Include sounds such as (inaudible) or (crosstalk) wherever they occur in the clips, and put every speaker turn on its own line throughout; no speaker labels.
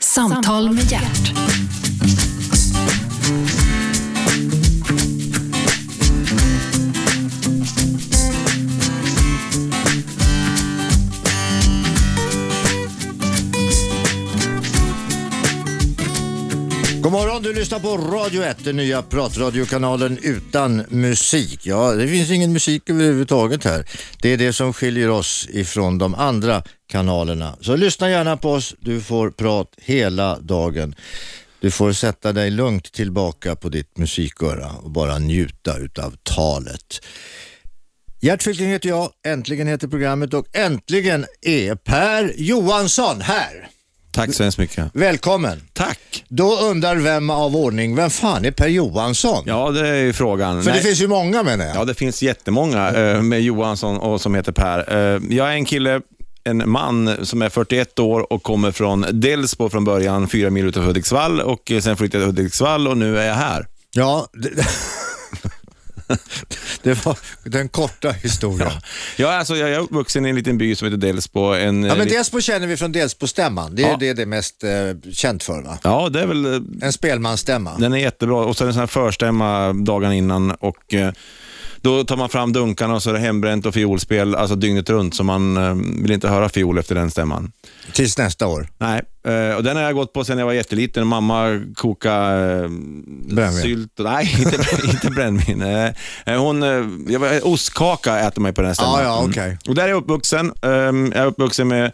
Samtal med hjärt.
God morgon, du lyssnar på Radio 1, den nya pratradiokanalen utan musik. Ja, det finns ingen musik överhuvudtaget här. Det är det som skiljer oss ifrån de andra kanalerna. Så lyssna gärna på oss, du får prat hela dagen. Du får sätta dig lugnt tillbaka på ditt musiköra och bara njuta utav talet. Gert Fylking heter jag, äntligen heter programmet och äntligen är Per Johansson här.
Tack så hemskt mycket.
Välkommen!
Tack!
Då undrar vem av ordning, vem fan är Per Johansson?
Ja, det är ju frågan.
För
Nej.
det finns ju många menar jag.
Ja, det finns jättemånga eh, med Johansson och som heter Per. Eh, jag är en kille, en man som är 41 år och kommer från Delsbo från början, fyra mil utanför Hudiksvall och eh, sen flyttade jag till Hudiksvall och nu är jag här.
Ja, det, (laughs) det var den korta historien. Ja,
Jag är, alltså, jag är uppvuxen i en liten by som heter Delsbo. En, eh,
men
lit-
Delsbo känner vi från Delsbo-stämman. Det är
Ja.
det det är mest eh, känt för va?
ja, det är väl... eh,
En spelmansstämma.
Den är jättebra och så är det en sån här förstämma dagen innan och eh, då tar man fram dunkarna och så är det hembränt och fiolspel, alltså dygnet runt, så man eh, vill inte höra fiol efter den stämman.
Tills nästa år.
Nej, eh, och den har jag gått på sedan jag var jätteliten. Mamma kokade eh,
Brännvin.
sylt. och- Nej, inte, inte (laughs) brännvin. Eh, Hon, eh, jag var, ostkaka äter man ju på den här stämman.
Ja, ja,
Mm.
okej.
Och där är jag uppvuxen. Eh, Jag är uppvuxen med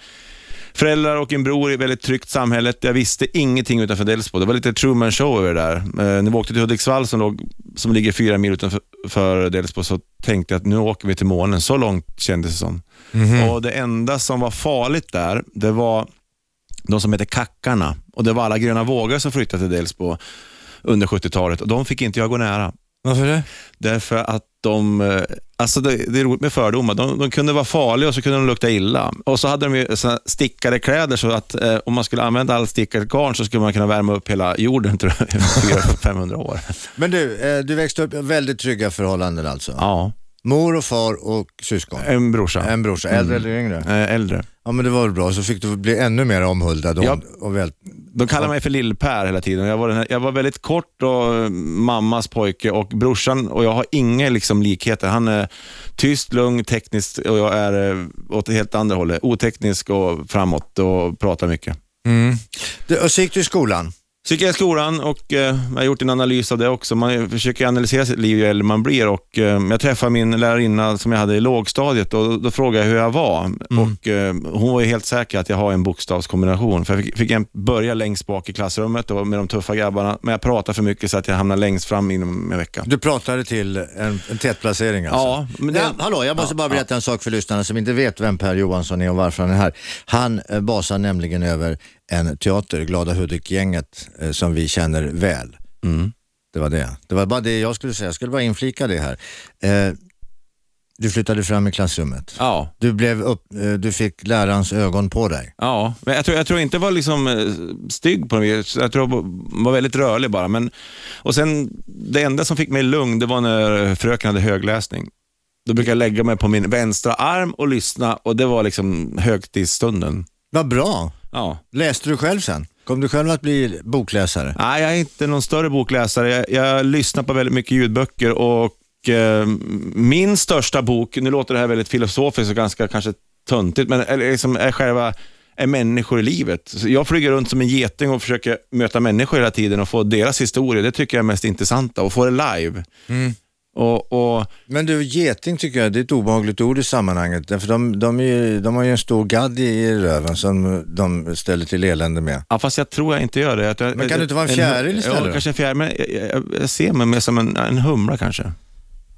föräldrar och en bror i ett väldigt tryggt samhället. Jag visste ingenting utanför Delsbo. Det var lite Truman Show över det där. Eh, När vi åkte till Hudiksvall som, låg, som ligger fyra mil utanför för Delsbo så tänkte jag att nu åker vi till månen. Så långt kändes det som.
Mhm.
Och Det enda som var farligt där, det var de som hette Kackarna. Och det var alla gröna vågor som flyttade till Delsbo under 70-talet och de fick inte jag gå nära.
Varför det?
Därför att de, eh, alltså det, det är roligt med fördomar, de, de kunde vara farliga och så kunde de lukta illa. Och så hade de ju såna stickade kläder så att eh, om man skulle använda all stickat garn så skulle man kunna värma upp hela jorden tror jag, (laughs) i 400-500 år.
Men du, eh, du växte upp i väldigt trygga förhållanden alltså?
Ja,
Mor och far och syskon?
en brorsa.
En brorsa, äldre eller yngre?
Eh, Äldre.
Ja men det var väl bra, så fick du bli ännu mer omhuldad och,
Ja.
och väl...
De kallar mig för Lill-Per hela tiden. Jag var, den här, jag var väldigt kort och eh, mammas pojke och brorsan och jag har inga liksom, likheter. Han är tyst, lugn, tekniskt och jag är eh, åt det helt andra hållet. Oteknisk och framåt och pratar mycket.
Du, och så gick du i skolan?
Så gick jag i skolan och eh, jag har gjort en analys av det också. Man försöker analysera sitt liv ju äldre man blir och eh, jag träffade min lärarinna som jag hade i lågstadiet och då, då frågade jag hur jag var och eh, hon var ju helt säker att jag har en bokstavskombination. För jag fick, fick en- börja längst bak i klassrummet och med de tuffa grabbarna, men jag pratade för mycket så att jag hamnade längst fram inom en vecka.
Du pratade till en, en tätplacering alltså?
Ja, men det-
ja, hallå, jag måste bara berätta en sak för lyssnarna som inte vet vem Per Johansson är och varför han är här. Han eh, basar nämligen över en teater, Glada Hudik-gänget, eh, som vi känner väl.
Mm.
Det var det. Det var bara det jag skulle säga. Jag skulle bara inflika det här. Eh, du flyttade fram i klassrummet.
Ja,
Du, blev upp, eh, du fick lärarens ögon på dig.
Ja, men jag tror, jag tror inte jag var liksom eh, stygg på något vis. Jag tror jag var väldigt rörlig bara. Men, och sen, det enda som fick mig lugn, det var när fröken hade högläsning. Då brukade jag lägga mig på min vänstra arm och lyssna och det var liksom högtidsstunden.
Vad bra.
Ja.
Läste du själv sen? Kom du själv att bli bokläsare?
Nej, jag är inte någon större bokläsare. Jag, jag lyssnar på väldigt mycket ljudböcker och eh, min största bok, nu låter det här väldigt filosofiskt och ganska kanske töntigt, men eller liksom är själva är människor i livet. Så jag flyger runt som en geting och försöker möta människor hela tiden och få deras historier. Det tycker jag är mest intressanta och få det live.
Mm.
Och, och
Men du, geting tycker jag det är ett obehagligt ord i sammanhanget. Därför de, de, är ju, de har ju en stor gadd i- i röven som de ställer till elände med.
Ja, fast jag tror jag inte gör det. Att jag,
Men kan du inte vara en fjäril istället
Ja,
då?
kanske en fjäril, men jag, jag, jag ser mig mer som en, en humla kanske.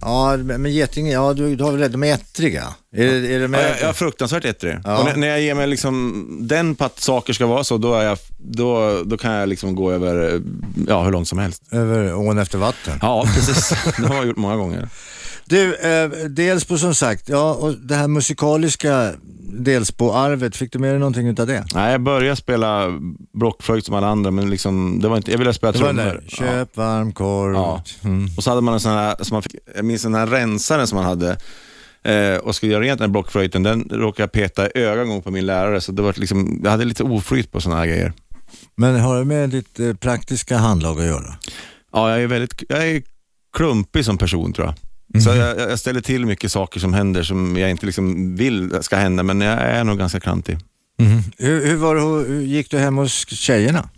Ja, men men geting, ja du, du har väl rätt, de är ettriga? Är, det- är de
Ja, jag, jag är
är,
fruktansvärt ettrig.
Ja.
Och när, när jag ger mig liksom den på att saker ska vara så, då, är jag, då, då kan jag liksom gå över eh, ja, hur långt som helst.
över ån efter vatten?
Ja, precis. (laughs) det har jag gjort många gånger.
Du, eh, dels på som sagt, ja, och det här musikaliska dels på arvet, fick du med dig någonting utav det?
Nej, jag började spela blockflöjt som alla andra, men liksom, det var Mm. inte, jag ville spela
Det var den
trummor.
där, köp varm korv.
Ja. Och så hade man en sån här, som man fick, jag minns den här rensaren som man hade eh, och skulle göra rent den här blockflöjten. Den råkade jag peta i ögat en gång på min lärare, så det var liksom, jag hade lite oflyt på såna här grejer.
Men har det med ditt eh, praktiska handlag att göra?
Ja, jag är väldigt jag är klumpig som person tror jag. Så jag, jag ställer till mycket saker som händer som jag inte liksom vill ska hända, men jag är nog ganska klantig. Mhm.
Hur, hur, var, det- hur gick du hem hos tjejerna?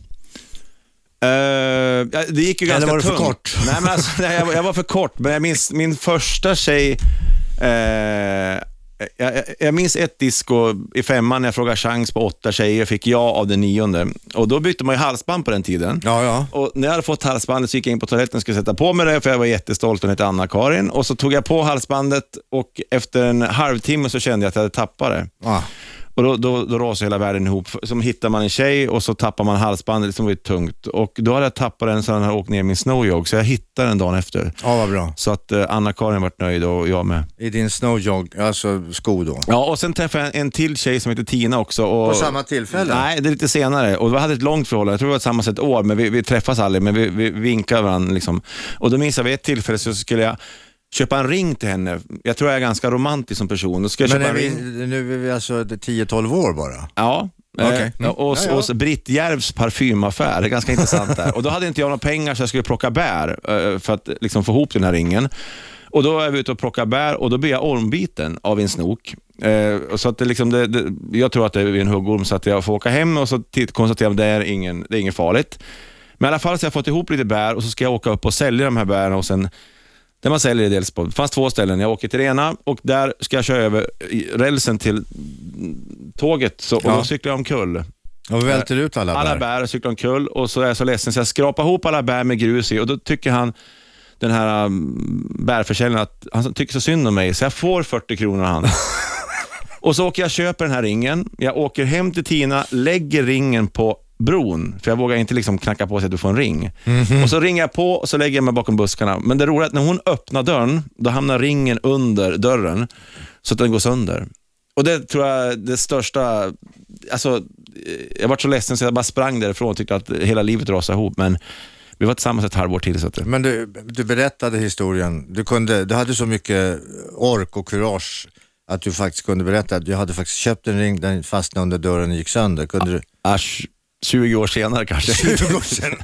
Eh, ja, det gick ju
Eller
ganska
var du för
tungt.
kort?
(laughs) Nej, men alltså, nej, jag, var- jag var för kort, men jag minns min första tjej... eh, jag, jag- jag minns ett disco i femman när jag frågade chans på åtta tjejer, fick jag av den nionde. Och då bytte man ju halsband på den tiden.
Ja, ja.
Och när jag hade fått halsbandet så gick jag in på toaletten och skulle sätta på mig det, för jag var jättestolt. Hon hette Anna-Karin. Och så tog jag på halsbandet och efter en halvtimme så kände jag att jag hade tappat det.
Ah.
Och då, då, då rasar hela världen ihop. Som hittar man en tjej och så tappar man halsbandet som är tungt. Och då hade jag tappat den så den hade åkt ner i min snowjog, så jag hittade den dagen efter.
Ja, vad bra.
Så att eh, Anna-Karin vart nöjd och jag med.
I din snowjog, alltså sko då.
Ja, och sen träffade jag en, en till tjej som heter Tina också. Och,
På samma tillfälle?
Nej, det är lite senare. Och vi hade ett långt förhållande. Jag tror vi var tillsammans ett år, men vi, vi träffas aldrig, men vi, vi vinkar varandra. Liksom. Och då minns jag vid ett tillfälle så skulle jag köpa en ring till henne. Jag tror jag är ganska romantisk som person. Då ska jag
Men
köpa
är
en
vi,
ring.
nu är vi alltså 10-12 år bara.
Ja.
Okej. Mm.
Eh, Och,
Ja, ja.
och, och Britt Järvs parfymaffär, det är ganska intressant där. Och då hade inte jag några pengar så jag skulle plocka bär eh, för att liksom få ihop den här ringen. Och då är vi ute och plockar bär och då blir jag ormbiten av en snok. Eh, och så att det liksom det, det, jag tror att det är en huggorm så att jag får åka hem och så titt- konstaterar jag att det är, ingen, det är inget farligt. Men i alla fall så har jag fått ihop lite bär och så ska jag åka upp och sälja de här bären och sen där man säljer i Delsbo. Det fanns två ställen. Jag åker till det ena och där ska jag köra över i rälsen till tåget så, och
Ja.
då cyklar jag omkull.
Och välter ut alla,
Alla
bär.
bär och cyklar omkull och så är jag så ledsen så jag skrapar ihop alla bär med grus i och då tycker han, den här um, bärförsäljaren, att han tycker så synd om mig så jag får 40 kronor av han. och så åker jag och köper den här ringen. Jag åker hem till Tina, lägger ringen på bron, för jag vågar inte liksom knacka på sig att du får en ring. Och Så ringer jag på och så lägger jag mig bakom buskarna. Men det roliga är att när hon öppnar dörren, då hamnar ringen under dörren så att den går sönder. Och det tror jag är det största, alltså eh, jag var så ledsen så jag bara sprang därifrån och tyckte att hela livet rasade ihop. Men vi var tillsammans ett halvår till. Så att,
Men du, du berättade historien. Du, kunde, du hade så mycket ork och kurage att du faktiskt kunde berätta att du hade faktiskt köpt en ring, den fastnade under dörren och gick sönder. Kunde du?
asch, 20 år
(laughs)
senare kanske.
20 år sedan.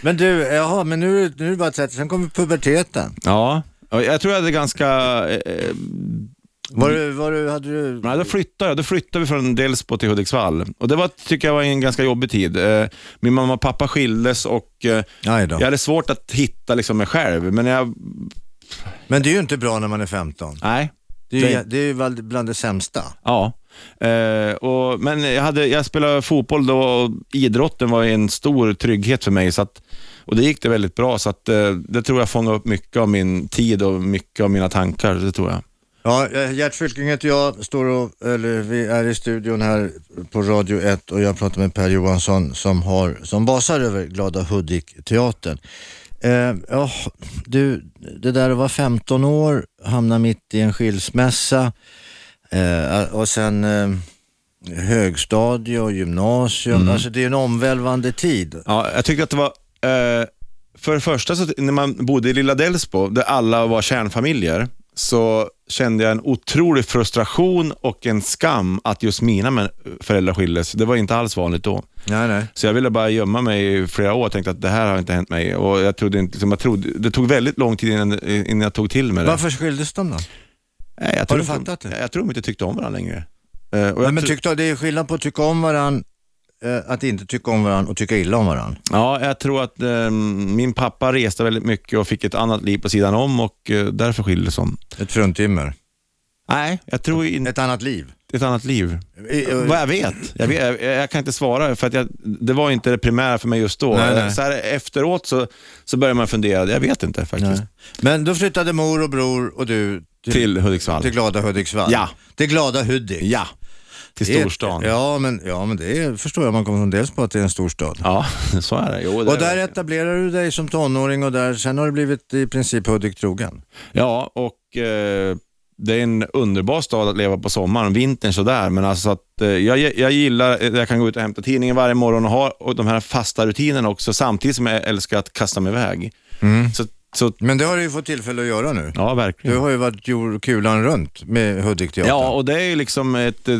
Men du, jaha, men nu, är det- nu är det bara 30, sen kommer puberteten.
ja, och jag tror jag hade ganska... eh, Eh,
Var du, var du, hade du...
nej, då flyttade jag. Då flyttade vi från Delsbo till Hudiksvall. Och det var, tycker jag var en ganska jobbig tid. Eh, min mamma och pappa skildes och eh,
Nej då.
jag hade svårt att hitta liksom, mig själv. Men jag...
Men det är ju inte bra när man är 15.
Nej.
Det är ju,
Det-
det är ju väl bland det sämsta.
Ja. Eh, och, men jag, hade, jag spelade fotboll då och idrotten var en stor trygghet för mig. Så att, och det gick det väldigt bra, så att, eh, det tror jag fångade upp mycket av min tid och mycket av mina tankar. Det tror jag.
Ja, eh, Gert Fylking heter jag, står och, eller vi är i studion här på Radio 1 och jag pratar med Per Johansson som, har, som basar över Glada Hudik-teatern. Eh, ja, du, det där att vara 15 år, hamna mitt i en skilsmässa eh, och sen eh, högstadie och gymnasium. Alltså det är en omvälvande tid.
Ja, jag tyckte att det var... Eh, för det första, så, när man bodde i Lilla Delsbo, där alla var kärnfamiljer, så kände jag en otrolig frustration och en skam att just mina men- föräldrar skildes. Det var inte alls vanligt då.
Nej, nej.
Så jag ville bara gömma mig i flera år och tänkte att det här har inte hänt mig. Och jag trodde inte, liksom, jag trodde, det tog väldigt lång tid innan, innan jag tog till mig det.
Varför skildes de då?
Nej, jag
Har
tror
du
inte-
fattat det?
Jag, jag tror de inte tyckte om varandra längre. Eh, och jag
Nej, men
tro-
tyckte, det är skillnad på att tycka om varandra, att inte tycka om varandra och tycka illa om varandra.
ja, jag tror att eh, min pappa reste väldigt mycket och fick ett annat liv på sidan om och eh, därför skildes de.
Ett fruntimmer.
Nej, jag tror inte
Ett annat liv.
ett annat liv.
I- och-
Vad jag vet. Jag, vet jag, jag kan inte svara för att jag, det var inte det primära för mig just då.
Nej, nej.
Så här, efteråt så, så börjar man fundera. Jag vet inte faktiskt.
Nej. Men då flyttade mor och bror och du till, till,
Till Hudiksvall.
glada Hudiksvall.
Ja.
Till glada Hudik.
Ja, till
Det är-
storstan.
Ja men, ja, men det är, förstår jag. Man kommer från dels på att det är en storstad.
Ja, (laughs) så är det. Jo, det
Och där
är...
etablerar du dig som tonåring och där, sen har du blivit i princip Hudik trogen.
Ja, och eh, det är en underbar stad att leva på sommaren. Vintern sådär, men alltså att eh, jag, jag gillar, eh, jag kan gå ut och hämta tidningen varje morgon och ha och de här fasta rutinerna också, samtidigt som jag älskar att kasta mig iväg.
Mm.
Så, så,
Men det har du ju fått tillfälle att göra nu.
ja,
Du
verkligen.
har ju varit jord- kulan runt med Hudik
Ja, och det är ju liksom ett, ett,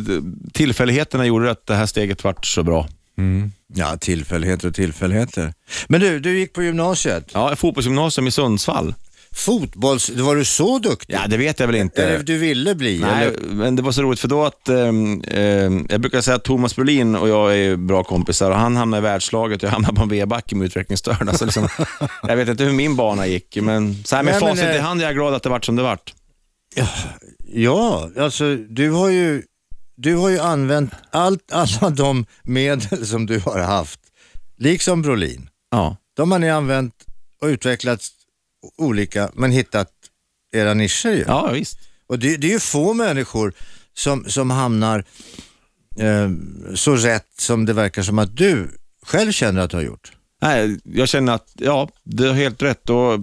tillfälligheterna gjorde att det här steget vart så bra. Mm.
Ja, tillfälligheter och tillfälligheter. Men du, du gick på gymnasiet.
Ja, fotbollsgymnasium i Sundsvall.
Fotbolls... Var du så duktig?
Ja, det vet jag väl inte.
Eller du ville bli?
Nej,
Eller?
men det var så roligt för då att, ehm, ehm, jag brukar säga att Thomas Brolin och jag är bra kompisar och han hamnade i världslaget och jag hamnade på en V-backe med utvecklingsstörda.
(laughs)
Så liksom, jag vet inte hur min bana gick, men så här med
Nej, men,
facit i
eh,
hand är jag glad att det vart som det vart.
Ja, alltså du har ju, du har ju använt allt, (laughs) alla de medel som du har haft, liksom Brolin.
Ja.
De har ni använt och utvecklat olika, men hittat era nischer ju.
ja, visst.
Och det, det är ju få människor som, som hamnar eh, så rätt som det verkar som att du själv känner att du har gjort.
Nej, jag känner att, ja, du har helt rätt. Och,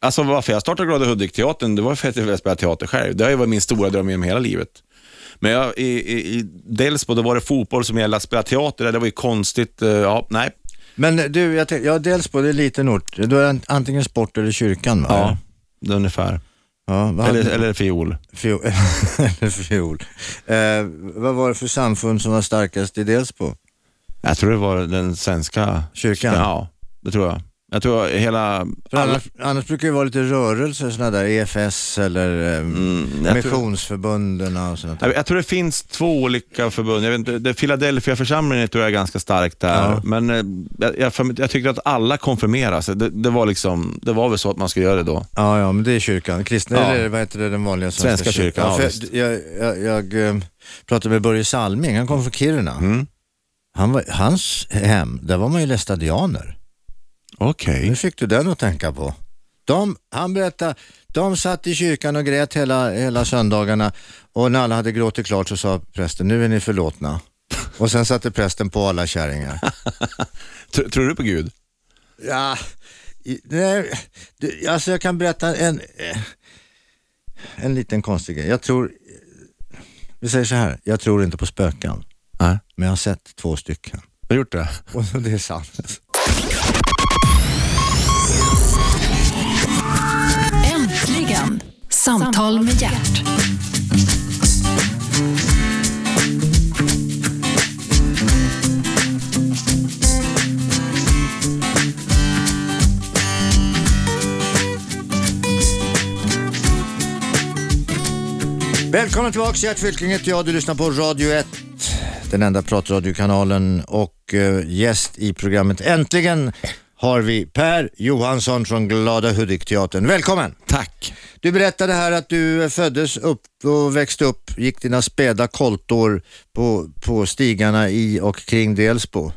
alltså varför jag startade Glada Hudik-teatern, det var för att jag ville spela teater själv. Det har ju varit min stora dröm genom hela livet. Men jag, i, i, i Delsbo, då var det fotboll som gällde, att spela teater, där, det var ju konstigt. eh, Ja, nej.
Men du, jag tänkte, ja, dels på det är en liten ort, då är det antingen sport eller kyrkan va?
Ja, det är ungefär.
ja vad hade-
Eller, eller fiol.
Fiol. (laughs) Eller fiol. Eh, vad var det för samfund som var starkast i Delsbo?
Jag tror det var den svenska
Kyrkan?
Ja, det tror jag. Jag tror hela...
För annars, annars brukar det vara lite rörelser, sådana där EFS eller eh,
jag tror-
missionsförbunden och sånt där.
Jag, jag tror det finns två olika förbund. Jag vet inte, det Philadelphia-församlingen tror jag är ganska stark där.
Ja.
Men eh, jag, jag, för- jag tyckte att alla konfirmeras. Det, det, var liksom, det var väl så att man skulle göra det då.
Ja, ja, men det är kyrkan. Kristna,
Ja.
eller vad heter det, den vanliga svenska,
Svenska kyrkan, ja, visst.
för jag, jag, jag, eh, pratade med Börje Salming, han kom från Kiruna. Han var, hans hem, där var man ju lästadianer.
Okej.
Nu fick du den att tänka på. De, han berättade, de satt i kyrkan och grät hela, hela söndagarna och när alla hade gråtit klart så sa prästen, nu är ni förlåtna. Och sen satte prästen på alla kärringar.
Tr- Tror du på Gud?
(laughs) Ja, i- nej, du, alltså jag kan berätta en, eh, en liten konstig grej. Jag tror, eh, vi säger så här, jag tror inte på spöken,
Nej.
men jag har sett två stycken.
Har du gjort det?
Och det är sant.
Äntligen! Samtal med hjärt.
Välkomna tillbaka, Gert Fylking heter jag. Du lyssnar på Radio 1, den enda pratradiokanalen och eh, gäst i programmet Äntligen har vi Per Johansson från Glada Hudik-teatern. Välkommen!
Tack.
Du berättade här att du föddes upp och växte upp, gick dina späda koltår på, på stigarna i och kring Delsbo.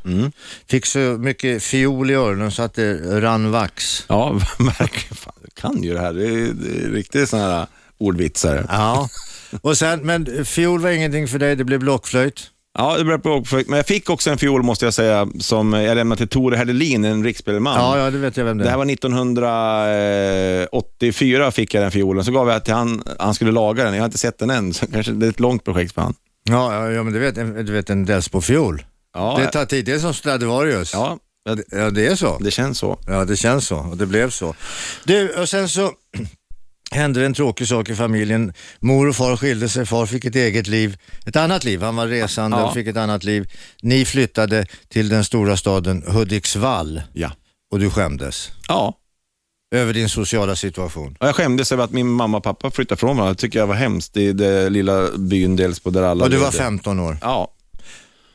Fick så mycket fiol i öronen så att det rann vax.
Ja, (laughs) verkligen. Fan, du kan ju det här. Det är, det är riktigt sådana här ordvitsare.
Ja, (laughs) och sen, men fiol var ingenting för dig, det blev blockflöjt.
Ja, det började på Men jag fick också en fiol måste jag säga, som jag lämnade till Tore Herdelin, en riksspelman.
Ja, ja, det vet jag vem det är.
Det här var 1984 fick jag den fiolen, så gav jag till han, han skulle laga den. Jag har inte sett den än, så kanske det är ett långt projekt för han.
Ja, ja, ja men du vet, du vet en Delsbo-fiol.
Ja,
det tar tid, det är som Stradivarius.
ja det,
ja, det är så.
det känns så.
Ja, det känns så och det blev så. Du, och sen så (clears throat) hände en tråkig sak i familjen. Mor och far skilde sig, far fick ett eget liv, ett annat liv. Han var resande
Ja.
och fick ett annat liv. Ni flyttade till den stora staden Hudiksvall
Ja.
och du skämdes
Ja,
över din sociala situation.
och jag skämdes över att min mamma och pappa flyttade från varandra. Det tycker jag var hemskt i den lilla byn Delsbo där alla
Och du var
levde.
15 år.
Ja,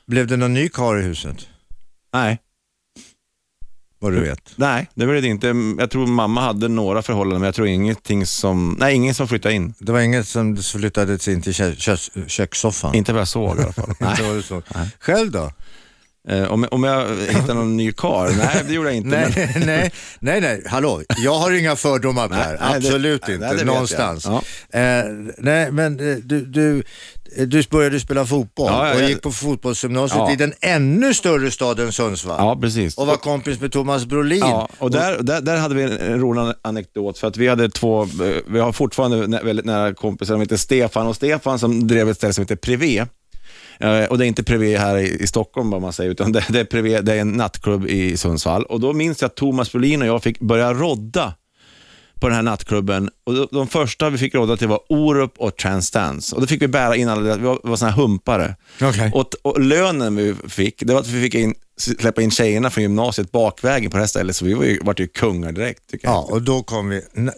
Blev det någon ny kar i huset?
nej.
Vad
Mm.
du vet.
Nej, det blev det inte. Jag tror mamma hade några förhållanden, men jag tror ingenting som, nej ingen som flyttade in.
Det var inget som flyttades in till kö- kö- kökssoffan?
Inte vad jag såg i alla fall. (laughs)
Inte var det så. Själv då?
Eh, om, om jag hittade någon ny karl? Nej, det gjorde jag inte. men-
Nej, nej, nej, nej, hallå, jag har inga fördomar
(laughs) Nej,
Per,
nej, det-
absolut
nej,
inte,
det vet jag.
någonstans.
Ja.
Eh, nej, men eh, du, du, du började spela fotboll
Ja, ja,
och
jag-
gick på fotbollsgymnasiet
Ja.
i den ännu större staden Sundsvall
Ja, precis.
och var kompis med Thomas Brolin.
Ja, och där, där, där hade vi en, en rolig anekdot för att vi hade två, eh, vi har fortfarande nä, väldigt nära kompisar, de heter Stefan och Stefan som drev ett ställe som heter Privé. Eh, och det är inte Privé här i, i Stockholm vad man säger, utan det, det är Privé, det är en nattklubb i Sundsvall. Och då minns jag att Thomas Brolin och jag fick börja rodda på den här nattklubben och de, de första vi fick råda till var Orup och Transdance. Och då fick vi bära in alla, vi var, vi var såna här humpare.
Okej.
Och, t- och lönen vi fick, det var att vi fick in, släppa in tjejerna från gymnasiet bakvägen på det här stället, så vi var ju, vart ju kungar direkt. Tycker jag.
Ja, och då kom vi... (clears throat)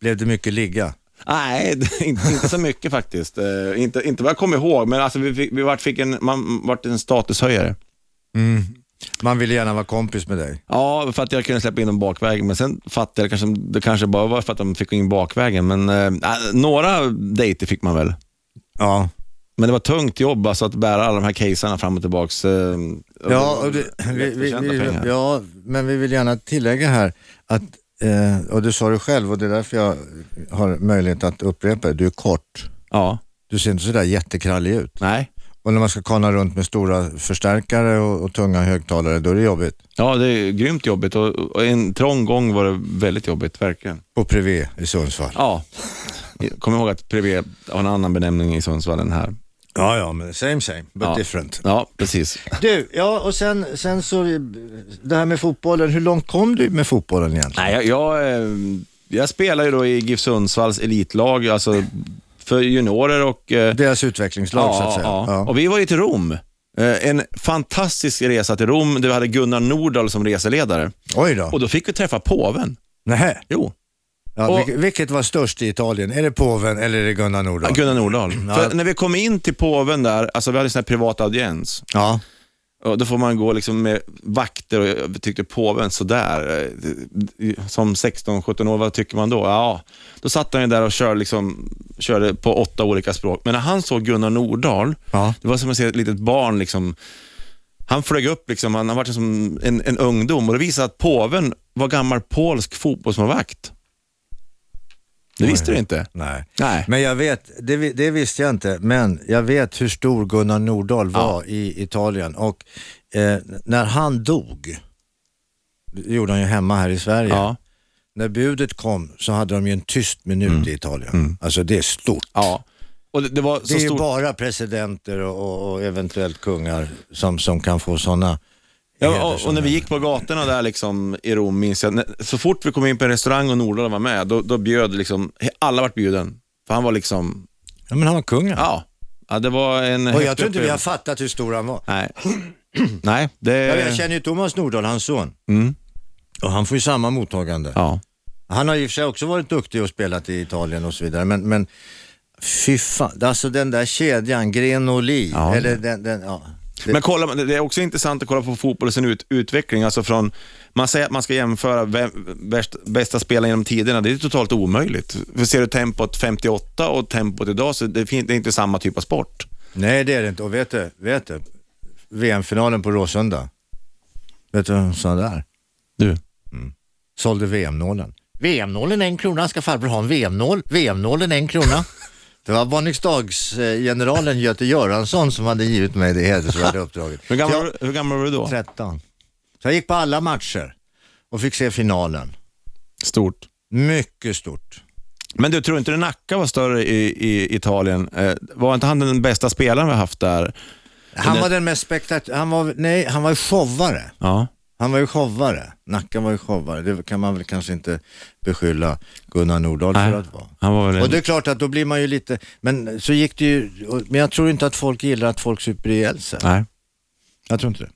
Blev det mycket ligga?
Nej, (laughs) det- inte, inte så mycket faktiskt. Eh, inte, inte vad jag kommer ihåg, men alltså vi fick, vi vart, fick en, man vart en statushöjare.
Man ville gärna vara kompis med dig.
Ja, för att jag kunde släppa in dem bakvägen, men sen fattade jag kanske, det kanske bara var för att de fick in bakvägen, men eh, några dejter fick man väl.
Ja,
Men det var tungt jobb alltså att bära alla de här casearna fram och tillbaks. Eh,
ja, och det,
det var
vi, vi,
lättförtjänta
vi,
pengar.
ja men vi vill gärna tillägga här att, eh, och du sa det själv och det är därför jag har möjlighet att upprepa det, du är kort.
ja.
Du ser inte sådär jättekrallig ut.
Nej.
Och när man ska kana runt med stora förstärkare och, och tunga högtalare, då är det jobbigt.
Ja, det är grymt jobbigt och, och en trång gång var det väldigt jobbigt, verkligen.
På Privé i Sundsvall.
Ja, kom ihåg att Privé har en annan benämning i Sundsvall än här.
Ja, ja, men same same, but
Ja.
different.
Ja, precis.
Du, ja och sen, sen så, det här med fotbollen, hur långt kom du med fotbollen egentligen?
Nej, jag, jag, eh, jag spelar ju då i GIF Sundsvalls elitlag, alltså för juniorer och... eh,
Deras utvecklingslag så att säga.
Ja,
Ja.
ja. Och vi var ju till Rom. Eh, En fantastisk resa till Rom där vi hade Gunnar Nordahl som reseledare.
Oj då.
Och då fick vi träffa påven.
Nähä.
Jo,
Ja,
och-
vilket, vilket var störst i Italien? Är det påven eller är det Gunnar Nordahl?
Gunnar Nordahl. För när vi kom in till påven där, alltså vi hade en sån här privat audiens.
Ja.
Och då får man gå liksom med vakter och jag tyckte påven sådär, eh, som 16-17 år, vad tycker man då? Ja, då satt han ju där och körde, liksom, körde på åtta olika språk. Men när han såg Gunnar Nordahl,
Ja.
det var som att se ett litet barn liksom, han flög upp, liksom, han har varit som en, en ungdom och det visade att påven var gammal polsk fotbollsmålvakt. Det visste du inte?
Nej.
Nej.
Men jag vet, det, vi- det visste jag inte, men jag vet hur stor Gunnar Nordahl var i Italien och eh, när han dog, det gjorde han ju hemma här i Sverige.
Ja.
När budet kom så hade de ju en tyst minut i Italien. Alltså det är stort.
Mm. ja. Och det, det var så
Det är ju
stort.
bara presidenter och, och, och eventuellt kungar som, som kan få sådana
Ja, och, och när vi gick på gatorna där liksom, i Rom, minns jag, när, så fort vi kom in på en restaurang och Nordahl var med, då, då bjöd liksom, he- alla vart bjuden. För han var liksom,
Ja, men han var kungen.
ja, ja det var en
och jag
häftig
tror inte vi har
upplevelse.
fattat hur stor han var.
Nej, Nej det...
Ja, jag känner ju Thomas Nordahl, hans son.
Eh. Mm.
Och han får ju samma mottagande.
ja.
Han har ju i och för sig också varit duktig och spelat i Italien och så vidare, men, men fy fan, alltså den där kedjan, Gren och Li,
Ja.
eller den, den ja. Det,
Men kolla, det det är också intressant att kolla på fotbollens ut, utveckling. Alltså från, man säger att man ska jämföra vem, värst, bästa spelare genom tiderna. Det är totalt omöjligt. För ser du tempot 58 och tempot idag, så det, fin- det är inte samma typ av sport.
Nej, det är det inte. Och vet du, vet du VM-finalen på Råsunda, vet du vem som där?
Du.
Sålde VM-nålen. VM-nålen en krona, ska farbror ha en VM-nål? VM-nålen en krona. Det var Barningsdagsgeneralen Göte Göransson som hade givit mig det
(laughs)
hedersvärda uppdraget.
Hur
Så jag-
gammal, hur gammal var du då?
13. Så jag gick på alla matcher och fick se finalen.
Stort.
Mycket stort.
Men du, tror inte du Nacka var större i, i Italien? Eh, var inte han den bästa spelaren vi har haft där?
Han var den mest spektakulära, han var, nej, han var ju showare.
Ja.
Han var ju showare. Nacka var ju showare. Det kan man väl kanske inte beskylla Gunnar Nordahl för att vara.
han var väl
Och det är klart att då blir man ju lite, men så gick det ju, och- men jag tror inte att folk gillar att folk super ihjäl sig.
Nej.
Jag tror inte det.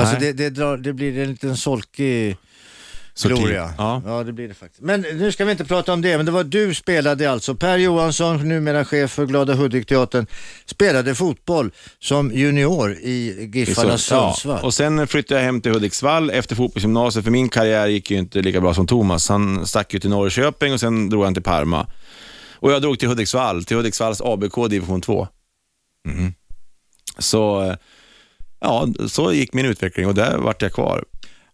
Alltså det,
Nej.
det, drar, det blir en liten solkig
Sorti.
gloria.
Ja.
ja, det blir det faktiskt. Men nu ska vi inte prata om det, men det var du spelade alltså. Per Johansson, numera chef för Glada Hudik-teatern, spelade fotboll som junior i Giffarna Sundsvall.
Ja. Och sen flyttade jag hem till Hudiksvall efter fotbollsgymnasiet, för min karriär gick ju inte lika bra som Thomas. Han stack ju till Norrköping och sen drog han till Parma. Och jag drog till Hudiksvall, till Hudiksvalls ABK division 2.
Mm.
Så, eh, ja, så gick min utveckling och där vart jag kvar.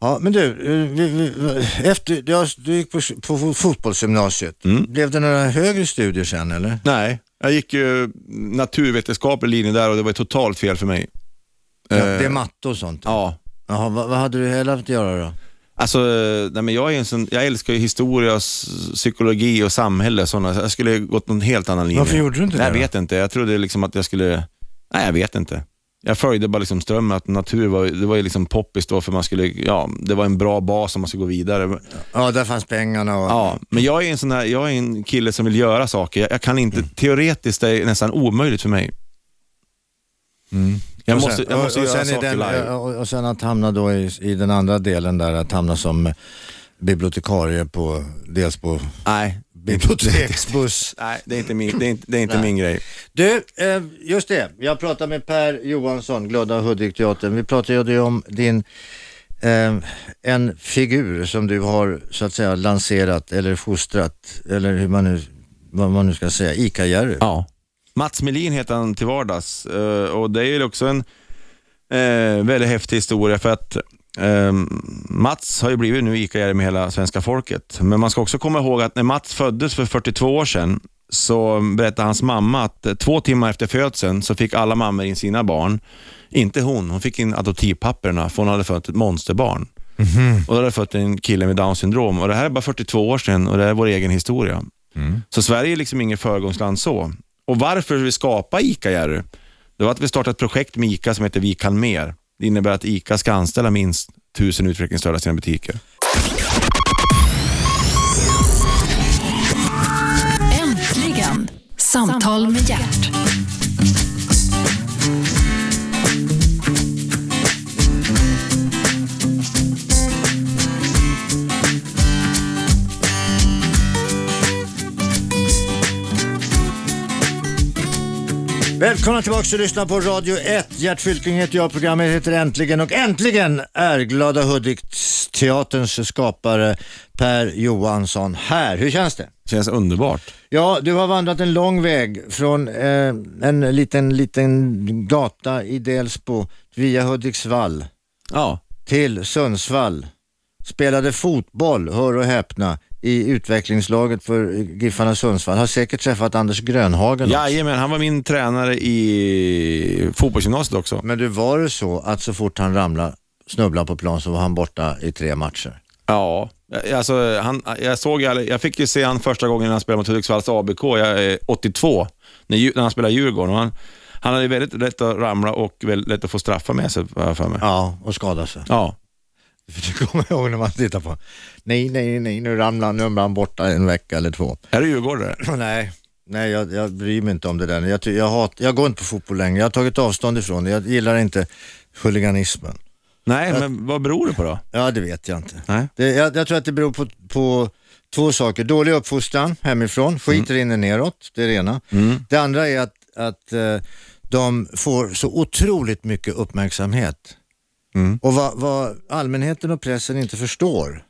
Ja, men du, eh, vi, vi, efter, ja, du gick på, på fo- fotbollsgymnasiet.
Mm.
Blev det några högre studier sen eller?
Nej, jag gick ju naturvetenskaplig linje där och det var totalt fel för mig. Eh.
Ja, det är matte och sånt?
Ja,
Jaha, vad, vad hade du hellre att göra då?
alltså eh, nej, men jag, är en sån, jag älskar ju historia, s- psykologi och samhälle. Såna. Jag skulle gått någon helt annan linje.
Varför gjorde du inte
nej,
det
Jag
då?
vet inte. Jag trodde liksom att jag skulle... Nej, jag vet inte. jag följde bara liksom strömmen att natur var, det var ju liksom poppis då för man skulle, ja, det var en bra bas om man skulle gå vidare.
Ja, där fanns pengarna och...
Ja, men jag är en sån här, jag är en kille som vill göra saker. Jag, jag kan inte,
Mm.
teoretiskt är det nästan omöjligt för mig. Jag
Mm. Och sen-
måste, jag måste
och, och
göra
sen i
saker
den,
live.
och, och sen att hamna då i, i den andra delen där, att hamna som bibliotekarie på, dels på
Nej,
biblioteksbuss.
nej, det är inte min, det är inte, det är inte min grej.
Du, eh, just det. Jag pratade med Per Johansson, Glada Hudik-teatern. Vi pratade ju om din, eh, en figur som du har så att säga lanserat eller fostrat, eller hur man nu, vad man nu ska säga, ICA-Jerry.
Ja. Mats Melin heter han till vardags eh, och det är ju också en eh, väldigt häftig historia för att eh, Mats har ju blivit nu ica med hela svenska folket. Men man ska också komma ihåg att när Mats föddes för 42 år sedan så berättade hans mamma att eh, två timmar efter födseln så fick alla mammor in sina barn. Inte hon, hon fick in adoptivpapperna för hon hade fött ett monsterbarn. Och då hade fött en kille med down syndrom och det här är bara 42 år sedan och det här är vår egen historia. Så Sverige är liksom ingen föregångsland så. Och varför vi skapade ICA Jerry, det var att vi startade ett projekt med ICA som heter Vi kan mer. Det innebär att ICA ska anställa minst tusen utvecklingsstörda i sina butiker.
Äntligen! Samtal med hjärt.
Välkomna tillbaka och lyssna på Radio 1. Gert Fylking heter jag, programmet heter Äntligen och äntligen är Glada Hudik-teaterns skapare Per Johansson här. Hur känns det?
Känns underbart.
Ja, du har vandrat en lång väg från eh, en liten, liten gata i Delsbo via Hudiksvall
Ja.
till Sundsvall. Spelade fotboll, hör och häpna, i utvecklingslaget för Giffarna Sundsvall. Har säkert träffat Anders Grönhagen också.
Jajamän, han var min tränare i fotbollsgymnasiet också.
Men du var det så att så fort han ramlade, snubblade på plan så var han borta i tre matcher?
Ja, alltså, han, jag, såg, ju aldrig- jag fick ju se han första gången när han spelade mot Hudiksvalls ABK, jag är 82, när, Djur- när han spelade i Djurgården. Och han, han hade ju väldigt lätt att ramla och väldigt lätt att få straffar med sig, har jag för mig.
Ja, och skadade sig. (laughs)
Ja.
Det kommer jag ihåg när man tittar på. Nej, nej, nej, nu ramlar han, nu är han borta en vecka eller två.
Är du djurgårdare?
Nej, nej jag, jag bryr mig inte om det där. Jag, ty- jag, hat, jag går inte på fotboll längre. Jag har tagit avstånd ifrån det. Jag gillar inte huliganismen.
Nej,
Äh.
men vad beror det på då?
Ja, det vet jag inte.
Nej.
Det, jag, jag tror att det beror på, på två saker. Dålig uppfostran hemifrån, skit rinner neråt, det är det ena. Det andra är att, att eh, de får så otroligt mycket uppmärksamhet. Och vad, vad allmänheten och pressen inte förstår,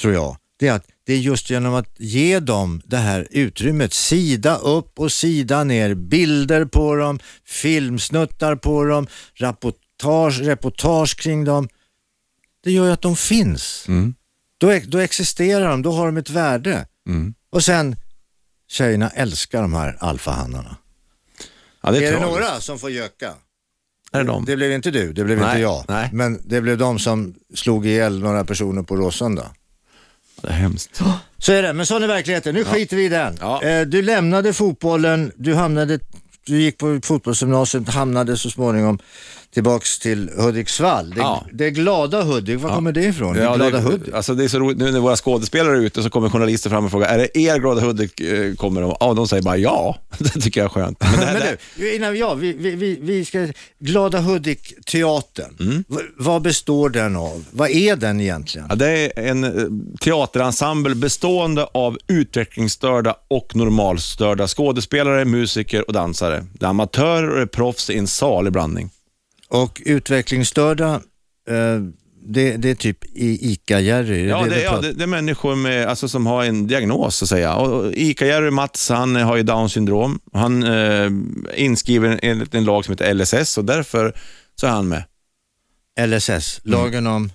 tror jag, det är att det är just genom att ge dem det här utrymmet, sida upp och sida ner, bilder på dem, filmsnuttar på dem, rapportage, reportage kring dem. Det gör ju att de finns.
Mm.
Då, ex- då existerar de, då har de ett värde.
Mm.
Och sen, tjejerna älskar de här alfahannarna.
Ja, det
Är,
är,
det
tragiskt.
några som får göka?
Är det de?
Det blev inte du, det blev
Nej,
inte jag.
nej.
Men det blev de som slog ihjäl några personer på Råsunda.
Det är hemskt.
Så är det, men sån är verkligheten. Nu skiter vi i den.
Ja.
Eh, du lämnade fotbollen, du hamnade, du gick på fotbollsgymnasiet, hamnade så småningom tillbaks till Hudiksvall. Det,
Ja.
det glada Hudik, var kommer det ifrån? det glada Hudik?
alltså det är så roligt, nu när våra skådespelare är ute så kommer journalister fram och frågar, är det er Glada Hudik eh, kommer de? Ja, de säger bara ja. (laughs) Det tycker jag är skönt. Men det
(laughs)
här,
Men du, innan ja, vi, vi, vi, vi ska... Glada Hudik-teatern,
Mm.
v- vad består den av? Vad är den egentligen?
Ja, det är en eh, teaterensemble bestående av utvecklingsstörda och normalstörda skådespelare, musiker och dansare. Det är amatörer och det är proffs i en salig blandning.
Och utvecklingsstörda, eh, det, det är typ i ICA-Jerry?
Ja,
vi
det, ja,
pratar-
det, det är människor med, alltså, som har en diagnos, så att säga. Och, och Ica-Jerry Mats, han eh, har ju Downs syndrom. Han eh, är inskriven enligt en lag som heter LSS och därför så är han med.
LSS, lagen om...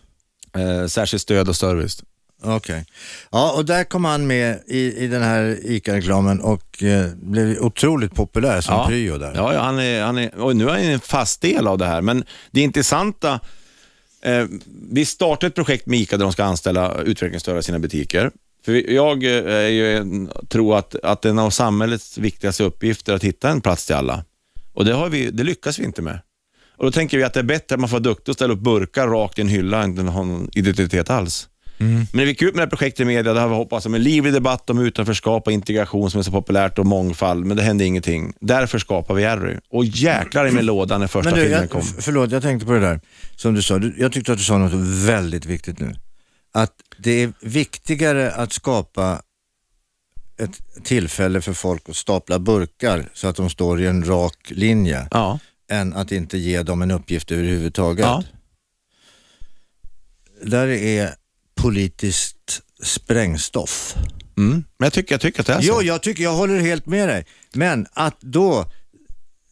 Eh, särskilt stöd och service.
Okej. Ja, och där kom han med i, i den här ICA-reklamen och eh, blev otroligt populär som pryo där.
Ja, ja han är, han är, och nu är han en fast del av det här, men det intressanta, eh, vi startade ett projekt med ICA där de ska anställa utvecklingsstörda i sina butiker. För vi- jag eh, är ju en, tror att, att en av samhällets viktigaste uppgifter är att hitta en plats till alla. Och det, har vi, det lyckas vi inte med. Och då tänker vi att det är bättre att man får vara duktig och ställa upp burkar rakt i en hylla än att ha någon identitet alls.
Mm.
Men det gick ut med det här projektet i media, där har vi hoppats på en livlig debatt om utanförskap och integration som är så populärt och mångfald, men det hände ingenting. Därför skapar vi Jerry. Och jäklar i min låda när första
Men du,
filmen
jag,
kom.
f- förlåt, jag tänkte på det där som du sa. Du, jag tyckte att du sa något väldigt viktigt nu. Att det är viktigare att skapa ett tillfälle för folk att stapla burkar så att de står i en rak linje
Ja.
än att inte ge dem en uppgift överhuvudtaget.
ja.
Där är politiskt sprängstoff.
Mm. Men jag tycker, jag tycker att det är så.
Jo, jag tycker jag håller helt med dig. Men att då,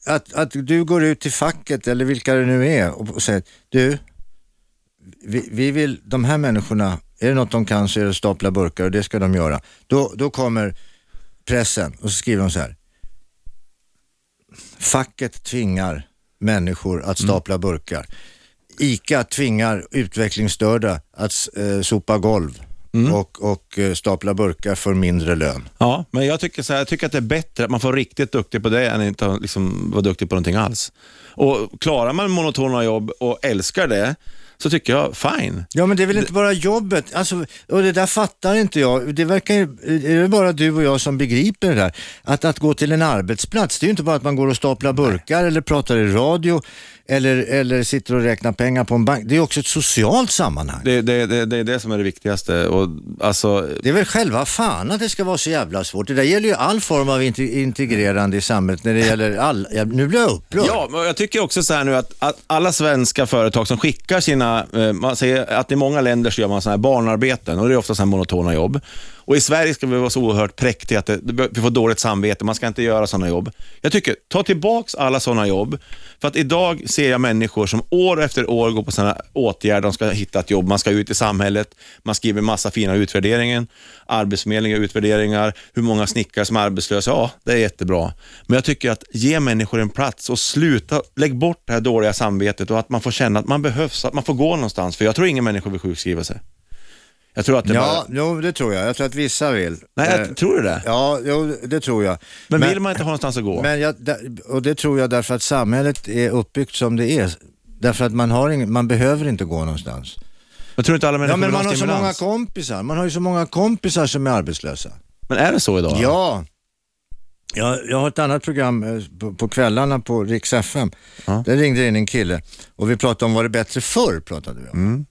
att, att du går ut till facket eller vilka det nu är och och säger, du, vi, vi vill, de här människorna, är det något de kan så är det att stapla burkar och det ska de göra. Då, då kommer pressen och så skriver de så här. Facket tvingar människor att stapla burkar. ICA tvingar utvecklingsstörda att eh, sopa golv och, och eh, stapla burkar för mindre lön.
Ja, men jag tycker, så här, jag tycker att det är bättre att man får riktigt duktig på det än att inte liksom, vara duktig på någonting alls. Och Klarar man monotona jobb och älskar det, så tycker jag fine.
Ja men det är väl inte bara jobbet, alltså, och det där fattar inte jag. Det verkar ju, är det bara du och jag som begriper det där? Att, att gå till en arbetsplats, det är ju inte bara att man går och staplar burkar eller pratar i radio eller, eller sitter och räknar pengar på en bank. Det är också ett socialt sammanhang. Det,
Det, det, det, det är det som är det viktigaste. Och, alltså,
är väl själva fan att det ska vara så jävla svårt. Det där gäller ju all form av inte- integrerande i samhället när det gäller all... Ja, nu blir jag upprörd.
Ja, men jag tycker också så här nu att, att alla svenska företag som skickar sina, eh, man säger att i många länder så gör man sådana här barnarbeten och det är ofta sådana här monotona jobb. Och i Sverige ska vi vara så oerhört präktiga att det, det- vi får dåligt samvete, man ska inte göra sådana jobb. Jag tycker, ta tillbaks alla sådana jobb, för att idag ser jag människor som år efter år går på sådana åtgärder, de ska hitta ett jobb, man ska ut i samhället, man skriver massa fina utvärderingen, Arbetsförmedlingen gör utvärderingar, hur många snickare som är arbetslösa, ja det är jättebra. Men jag tycker att ge människor en plats och sluta, lägg bort det här dåliga samvetet och att man får känna att man behövs, att man får gå någonstans, för jag tror ingen människa vill sjukskriva sig. Jag tror att det
Ja,
bara...
jo, det tror jag. Jag tror att vissa vill.
Nej,
Eh,
jag, tror du det?
Ja, jo, det tror jag.
Men, vill man inte ha någonstans att gå?
Men jag, där- och det tror jag därför att samhället är uppbyggt som det är. Därför att man, har ingen, man behöver inte gå någonstans.
jag tror inte alla människor
Ja, men
vill
man
ha
har så många
stimulans.
kompisar. Man har ju så många kompisar som är arbetslösa.
Men är det så idag?
Ja. Jag, jag har ett annat program eh, på, på kvällarna på Rix FM.
Ja.
Där ringde in en kille och vi pratade om var det bättre förr. Pratade vi om.
Mm.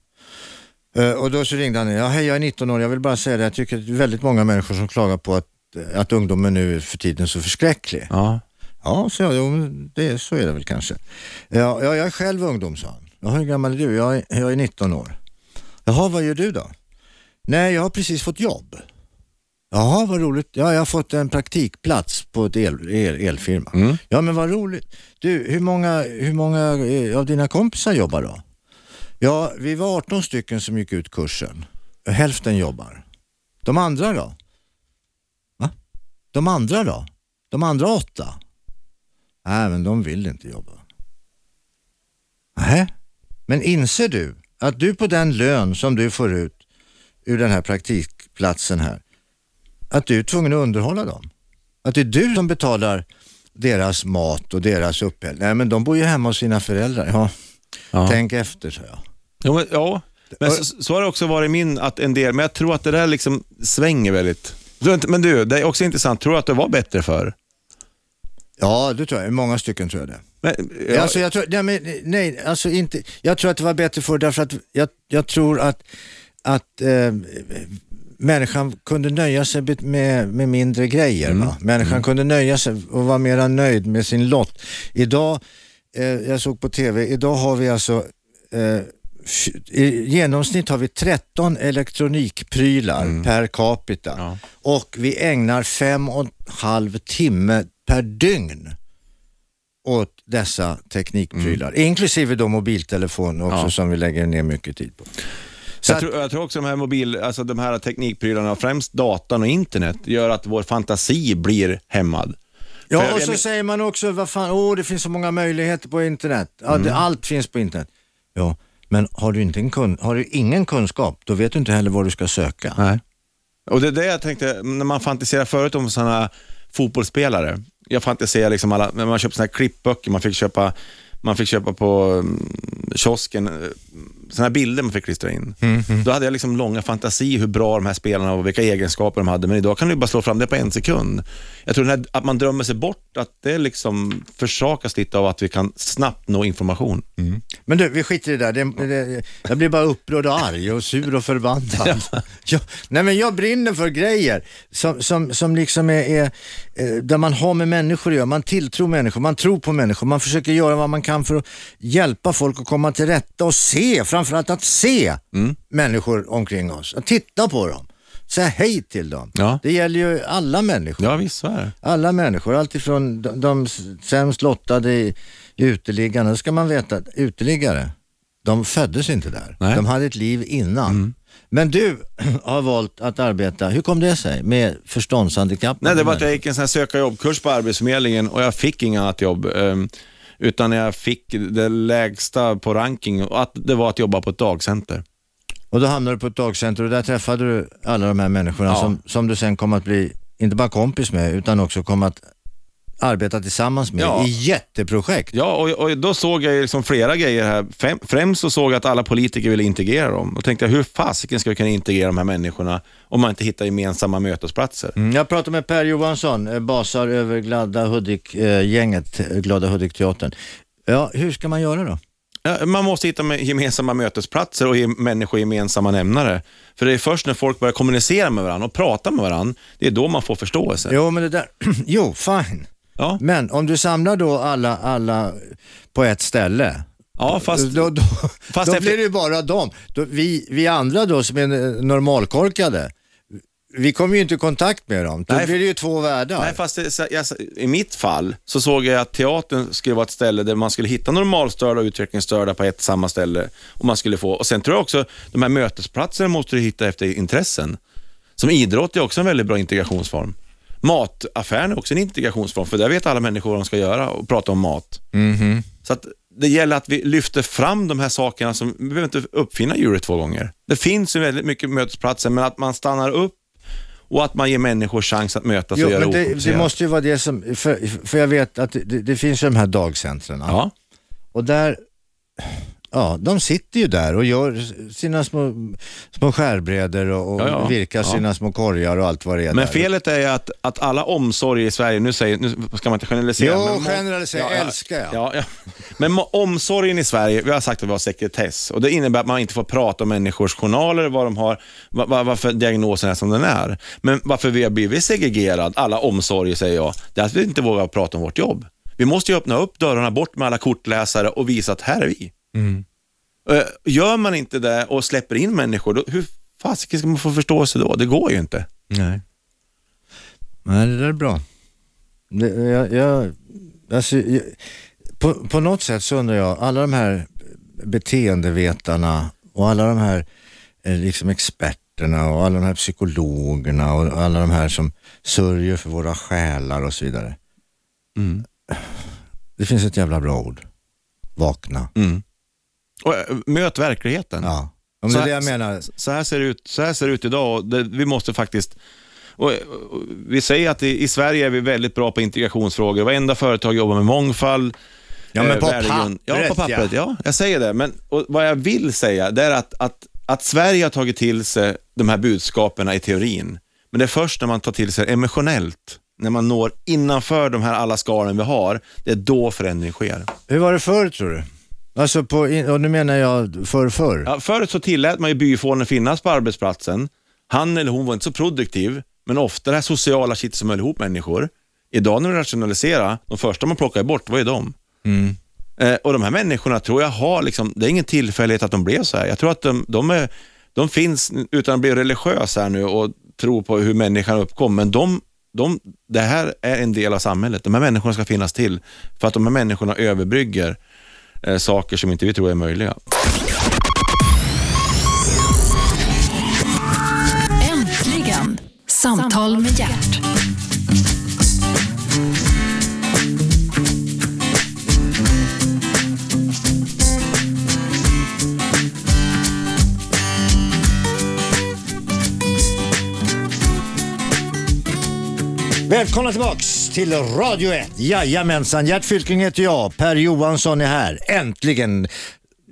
Eh, och då så ringde han ja, hej jag är 19 år, jag vill bara säga det, jag tycker att det är väldigt många människor som klagar på att, eh, att ungdomen nu är för tiden så förskräcklig.
Ja.
Ja, så, jag, jo, men det, så är det väl kanske. Ja, ja, jag är själv ungdom, sa han. Ja, hur gammal är du? Jag är, jag är 19 år. Jaha, vad gör du då? Nej, jag har precis fått jobb. Jaha, vad roligt. Ja, jag har fått en praktikplats på ett el, el, elfirma. Ja, men vad roligt. Du, hur många, hur många eh, av dina kompisar jobbar då? Ja, vi var 18 stycken som gick ut kursen. Hälften jobbar. De andra då? Va? De andra då? De andra åtta? Nej, men de vill inte jobba. Nej, men inser du att du på den lön som du får ut ur den här praktikplatsen här, att du är tvungen att underhålla dem? Att det är du som betalar deras mat och deras uppehälle? Nej, men de bor ju hemma hos sina föräldrar. Ja,
Ja.
tänk efter, sa jag.
Jo, men, ja. men så, så har det också varit i min, att en del, men jag tror att det där liksom svänger väldigt. Du, Men du, det är också intressant, tror du att det var bättre förr?
Ja, det tror jag. Många stycken tror jag det.
Men,
Ja.
ja,
Alltså jag tror, nej, men, nej, alltså inte, jag tror att det var bättre förr därför att jag, jag tror att, att eh, människan kunde nöja sig bet- med, med mindre grejer. Va? Människan kunde nöja sig och vara mera nöjd med sin lott. Idag, eh, jag såg på TV, idag har vi alltså eh, fj- i genomsnitt har vi 13 elektronikprylar per capita
Ja.
och vi ägnar fem och en halv timme per dygn åt dessa teknikprylar, inklusive då mobiltelefon också
Mm. Ja.
som vi lägger ner mycket tid på. Så
jag,
att,
tror, jag tror också de här mobil, alltså de här teknikprylarna, främst datan och internet, gör att vår fantasi blir hämmad. För
ja,
jag-
och så
jag-
säger man också, vad fan, åh det finns så många möjligheter på internet. Ja,
Mm.
det, allt finns på internet. Ja, men har du, inte en kun, har du ingen kunskap, då vet du inte heller vad du ska söka.
Nej. Och det är det jag tänkte, när man fantiserar förut om sådana fotbollsspelare. Jag fantiserar liksom alla, när man köpte sådana här klippböcker, man fick köpa man fick köpa på mm, kiosken, eh, såna här bilder man fick klistra in. Då hade jag liksom långa fantasi hur bra de här spelarna var och vilka egenskaper de hade, men idag kan du ju bara slå fram det på en sekund. Jag tror den här, att man drömmer sig bort, att det liksom försakas lite av att vi kan snabbt nå information.
Men du, vi skiter i det där. Det, det, jag blir bara upprörd och arg och sur och förbannad. (laughs) Jag, nej men jag brinner för grejer som, som, som liksom är, är, eh, där man har med människor att göra. Man tilltror människor, man tror på människor, man försöker göra vad man kan för att hjälpa folk att komma till rätta och se, framförallt att se människor omkring oss. Att titta på dem, säga hej till dem.
Ja.
Det gäller ju alla människor.
Ja, visst så är det.
Alla människor, alltifrån de, de sämst lottade i uteliggarna, Då ska man veta att uteliggare, de föddes inte där.
Nej. Mm.
De hade ett liv innan. Men du (clears throat) har valt att arbeta, hur kom det sig, med förståndshandikapp?
Nej, det var att jag gick en sån här söka jobbkurs på Arbetsförmedlingen och jag fick inget annat jobb. ehm, Utan jag fick det lägsta på ranking och att det var att jobba på ett dagcenter.
Och då hamnade du på ett dagcenter och där träffade du alla de här människorna
Ja.
som, som du sen kom att bli, inte bara kompis med, utan också kom att arbeta tillsammans med
Ja.
i jätteprojekt.
Ja, och, och då såg jag ju liksom flera grejer här. Fem, främst så såg jag att alla politiker ville integrera dem. Då tänkte jag, hur fasiken ska vi kunna integrera de här människorna om man inte hittar gemensamma mötesplatser?
Mm, Jag pratade med Per Johansson, eh, basar över eh, Glada Hudik-gänget, Glada Hudik-teatern. Ja, hur ska man göra då?
Ja, man måste hitta med- gemensamma mötesplatser och ge människor gemensamma nämnare. För det är först när folk börjar kommunicera med varandra och prata med varandra, det är då man får förståelse.
Jo, men det där, (clears throat) jo, fine.
Ja,
Men om du samlar då alla, alla på ett ställe,
ja fast...
då, då,
fast
då
efter-
blir det ju bara dem. Då, vi, vi andra då som är eh, normalkorkade, vi kommer ju inte i kontakt med dem. Då
Nej.
blir det ju två världar.
Nej, fast det, så- jag, i mitt fall så såg jag att teatern skulle vara ett ställe där man skulle hitta normalstörda och utvecklingsstörda på ett samma ställe. Och man skulle få. Och sen tror jag också, de här mötesplatserna måste du hitta efter intressen. Som idrott är också en väldigt bra integrationsform. Mataffären är också en integrationsform, för där vet alla människor vad de ska göra och prata om mat. Så att det gäller att vi lyfter fram de här sakerna som, vi behöver inte uppfinna djuret två gånger. Det finns ju väldigt mycket mötesplatser, men att man stannar upp och att man ger människor chans att mötas
Jo,
och göra
men det, det
okomplicerat.
måste ju vara det som, för, för jag vet att det, det finns ju de här dagcentren.
Ja.
Och där, ja, de sitter ju där och gör sina små, små skärbrädor och, och
Ja, ja.
virkar
Ja.
sina små korgar och allt vad det är
Men
där.
felet är ju att, att alla omsorger i Sverige, nu, säger, nu ska man inte generalisera.
Jo,
men må-
generalisera, älskar jag.
Ja, ja. Men må- omsorgen i Sverige, vi har sagt att vi har sekretess och det innebär att man inte får prata om människors journaler, vad de har, va, va, varför diagnosen är som den är. Men varför vi har blivit segregerad, alla omsorger säger jag, det är att vi inte vågar prata om vårt jobb. Vi måste ju öppna upp dörrarna bort med alla kortläsare och visa att här är vi. Eh, Gör man inte det och släpper in människor, då, hur fasiken ska man få förståelse då? Det går ju inte.
Nej. Nej, det där är bra. Det, jag, jag, alltså, jag, på, på något sätt så undrar jag, alla de här beteendevetarna och alla de här eh, liksom experterna och alla de här psykologerna och alla de här som sörjer för våra själar och så vidare. Mm. Det finns ett jävla bra ord. Vakna.
Och, eh, möt verkligheten.
Ja. Om det
Så
är det
här-
jag menar.
Så, här ser det ut, så här ser det ut idag och det, vi måste faktiskt... Och, och, vi säger att i, i Sverige är vi väldigt bra på integrationsfrågor. Varenda företag jobbar med mångfald. eh,
Ja, men på
värdegrund. Ja,
pappret,
på pappret. Ja, jag säger det. Men och, vad jag vill säga, det är att, att, att Sverige har tagit till sig de här budskapen i teorin. Men det är först när man tar till sig det emotionellt, när man når innanför de här alla skalen vi har, det är då förändring sker.
Hur var det förr tror du? Alltså på, in- och nu menar jag förr förr.
Ja, förut så tillät man ju byfånen finnas på arbetsplatsen. Han eller hon var inte så produktiv, men ofta det här sociala kittet som höll ihop människor. Idag när vi rationaliserar, de första man plockar bort var ju de. Eh, och de här människorna tror jag har, liksom, det är ingen tillfällighet att de blev så här. Jag tror att de, de, är, de finns, utan att bli religiös här nu och tro på hur människan uppkom, men de, de, det här är en del av samhället. De här människorna ska finnas till, för att de här människorna överbrygger eh, saker som inte vi tror är möjliga.
Äntligen! Samtal med hjärt.
Välkomna tillbaks till Radio 1. Jajamensan, Gert Fylking heter jag. Per Johansson är här. Äntligen!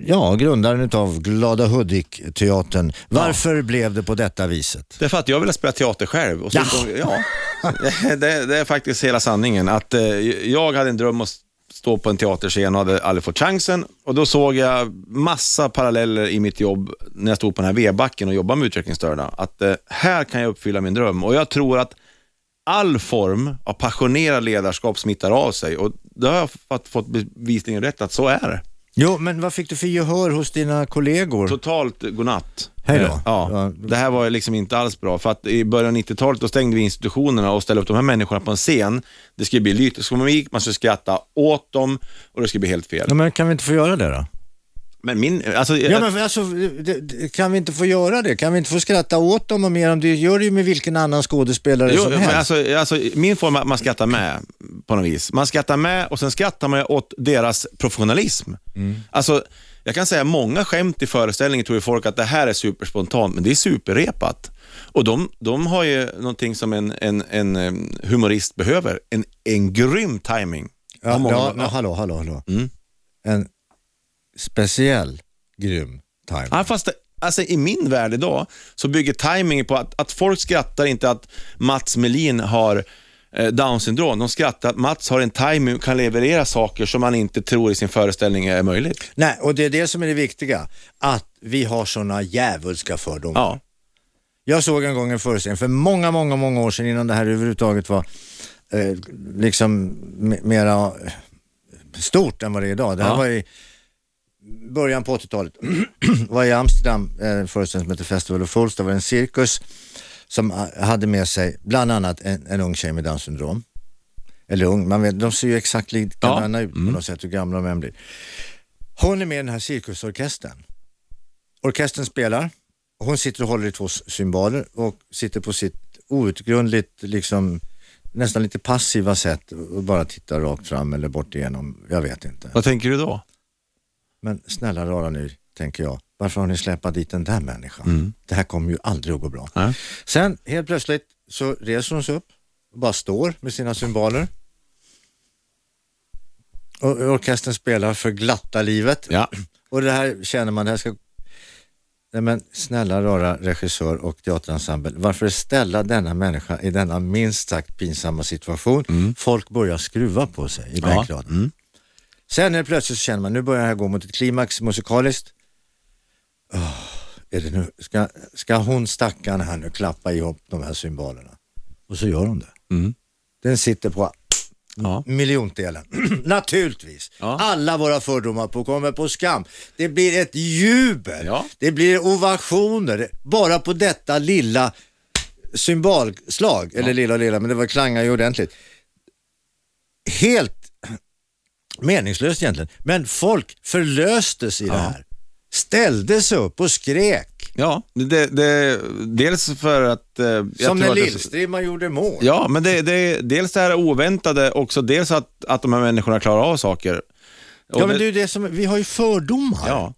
Ja, grundaren utav Glada Hudik-teatern. Varför blev det på detta viset?
Därför att jag ville spela teater själv. Och så
Ja.
ja. (laughs) det, det är faktiskt hela sanningen. Att, eh, jag hade en dröm att stå på en teaterscen och hade aldrig fått chansen. Och då såg jag massa paralleller i mitt jobb när jag stod på den här vedbacken och jobbade med utvecklingsstörda. Att eh, här kan jag uppfylla min dröm. Och jag tror att all form av passionerat ledarskap smittar av sig. Och det har jag fått- fått bevisningen rätt att så är det.
Jo, men vad fick du för gehör hos dina kollegor?
Totalt godnatt.
Hej då.
Eh, Ja,
Ja.
det här var liksom inte alls bra. För att i början av 90-talet då stängde vi institutionerna och ställde upp de här människorna på en scen. Det skulle bli lytisk komik, man skulle skratta åt dem och det skulle bli helt fel.
Ja, men kan vi inte få göra det då?
Men min, alltså,
Ja, men alltså, det- det- kan vi inte få göra det? Kan vi inte få skratta åt dem och mer om det? gör det ju med vilken annan skådespelare
Jo,
som
men
helst.
alltså, alltså, min form är att man skrattar med på något vis. Man skrattar med och sen skrattar man åt deras professionalism. Alltså, jag kan säga många skämt i föreställningen tror ju folk att det här är superspontant, men det är superrepat. Och de, de har ju någonting som en, en, en eh, humorist behöver, en, en grym timing.
Ja,
Av många-
ja, men hallå, hallå, hallå.
Mm.
En speciell grym time.
Ja, fast det, alltså, i min värld idag så bygger timing på att, att folk skrattar inte att Mats Melin har eh, down syndrom. De skrattar att Mats har en timing och kan leverera saker som man inte tror i sin föreställning är möjligt.
Nej, och det är det som är det viktiga. Att vi har sådana djävulska fördomar.
Ja.
Jag såg en gång en föreställning för många, många, många år sedan innan det här överhuvudtaget var eh, liksom m- mera eh, stort än vad det är idag. Det här
Ja.
var i början på 80-talet. (clears throat) var i Amsterdam, eh, en föreställning som heter Festival of Fools. Det var en cirkus som eh, hade med sig bland annat en, en ung tjej med Downs syndrom. Eller ung, man vet, de ser ju exakt likadana ut på något sätt, hur gamla de än blir. Hon är med i den här cirkusorkestern. Orkestern spelar, hon sitter och håller i två s- cymbaler och sitter på sitt outgrundligt, liksom, nästan lite passiva sätt och bara tittar rakt fram eller bort igenom, jag vet inte.
Vad tänker du då?
Men snälla rara nu, tänker jag, varför har ni släpat dit den där människan? Det här kommer ju aldrig att gå bra.
Ja.
Sen helt plötsligt så reser hon sig upp och bara står med sina cymbaler. Och orkestern spelar för glatta livet.
Ja.
Och det här känner man, det här ska... Nej men snälla rara regissör och teaterensemble, varför ställa denna människa i denna minst sagt pinsamma situation? Folk börjar skruva på sig i bänkraden. Sen är plötsligt så känner man, nu börjar det här gå mot ett klimax musikaliskt. Åh, är det nu? Ska, ska hon stackaren här nu klappa ihop de här cymbalerna? Och så gör hon det.
Mm.
Den sitter på
Ja.
miljontdelen. (clears throat) Naturligtvis.
Ja.
Alla våra fördomar på kommer på skam. Det blir ett jubel.
Ja.
Det blir ovationer. Bara på detta lilla symbolslag. Eller lilla och lilla, men det var klangar ju ordentligt. Helt meningslöst egentligen. Men folk förlöstes i det här. Ställde sig upp och skrek.
ja. Det, det, dels för att... eh, jag
Som
tror
när
att det-
Lillstrimman gjorde mål.
Ja, men det, det, dels det här oväntade, också dels att, att de här människorna klarar av saker. Och
Ja, men
det-
det är ju det som, vi har ju fördomar.
Ja,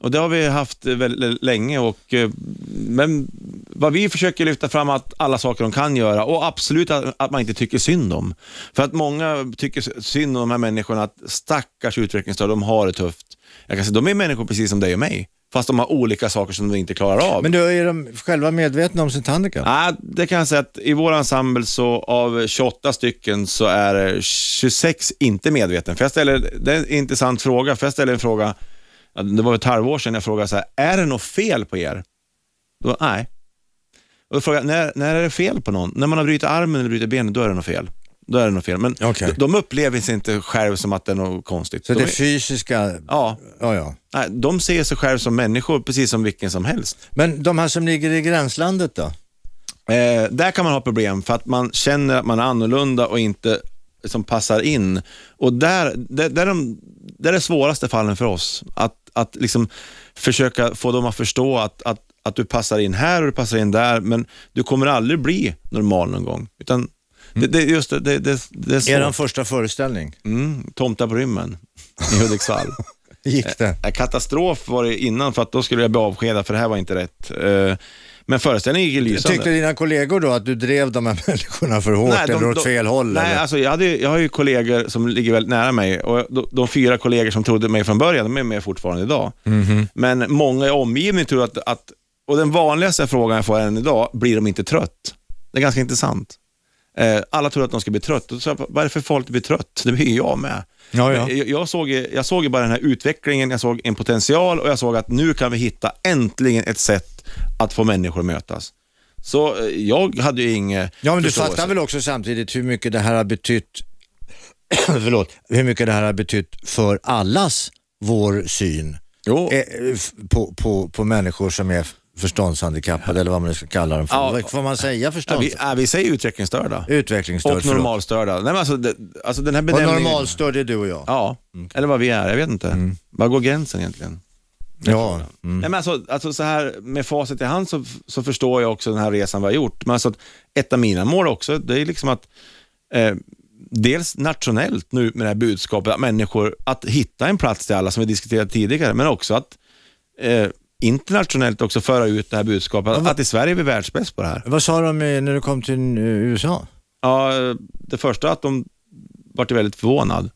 och det har vi haft eh, väldigt länge. Och, eh, men vad vi försöker lyfta fram är att alla saker de kan göra och absolut att, att man inte tycker synd om. För att många tycker synd om de här människorna, att stackars utvecklingsstörda, de har det tufft. Jag kan säga, de är människor precis som dig och mig, fast de har olika saker som de inte klarar av.
Men då är de själva medvetna om sitt handikapp.
Ja, det kan jag säga att i vår ensemble så av 28 stycken så är eh, 26 inte medveten. För jag ställer, det är en intressant fråga, för jag ställer en fråga, ja, det var ett halvår sedan jag frågade så här, är det något fel på er? Då, nej. Och då frågade jag, när, när är det fel på någon? När man har brutit armen eller brutit benet, då är det något fel. Då är det något fel. Men
Okej.
de, de upplever sig inte själv som att det är något konstigt.
Så
de,
det
är-
fysiska,
ja,
ja ja.
nej, de ser sig själv som människor, precis som vilken som helst.
Men de här som ligger i gränslandet då?
Eh, där kan man ha problem för att man känner att man är annorlunda och inte som passar in. Och där, där, där, är de, där är det svåraste fallen för oss. Att, att liksom försöka få dem att förstå att, att, att du passar in här och du passar in där, men du kommer aldrig bli normal någon gång. Utan det, det, är just det, det, det, det Mm. är
Eran
svårt.
första föreställning,
Mm, tomtar på rymmen i (laughs) Hudiksvall.
gick det?
Eh, Katastrof var det innan för att då skulle jag bli avskedad för det här var inte rätt. Eh, Men föreställningen gick ju lysande.
Tyckte dina kollegor då att du drev de här (laughs) människorna för hårt eller åt fel håll?
Nej,
eller?
alltså jag, hade, ju- jag har ju kollegor som ligger väldigt nära mig och de, de fyra kollegor som trodde mig från början, de är med fortfarande idag.
Mhm.
Men många i omgivningen tror att, att, och den vanligaste frågan jag får än idag, blir de inte trött? Det är ganska intressant. Eh, alla tror att de ska bli trött. Och så, sa jag, vad är det för folk att bli trött? Det blir ju jag med.
Ja, ja.
Men Jag, jag, såg, ju- jag såg ju bara den här utvecklingen, jag såg en potential och jag såg att nu kan vi hitta äntligen ett sätt att få människor att mötas. Så eh, jag hade ju inget
Ja, men du
förståelse.
fattar väl också samtidigt hur mycket det här har betytt, (clears throat) förlåt, hur mycket det här har betytt för allas vår syn
Jo.
eh, f- på, på, på människor som är förståndshandikappade eller vad man nu ska kalla dem för.
Ja.
Vad Får man säga
Ja,
förstånds...
vi, ja, vi säger utvecklingsstörda.
Alltså. Utvecklingsstörd,
Och
förlåt.
normalstörda. Nej, men alltså, det, alltså den här
Och Mm.
benämningen.
normalstörd är du och jag.
Ja, eller vad vi är. Jag vet inte.
Mm.
Var går gränsen egentligen?
Ja.
Nej, men alltså, alltså så här, med facit i hand så, så förstår jag också den här resan vi har gjort. Men alltså, att ett av mina mål också, det är liksom att eh, dels nationellt nu med det här budskapet, att människor, att hitta en plats till alla som vi diskuterat tidigare, men också att eh, internationellt också föra ut det här budskapet, att, att i Sverige är vi världsbäst på det här.
Vad sa de eh, när du kom till eh, USA?
Ja, det första att de vart ju väldigt förvånad.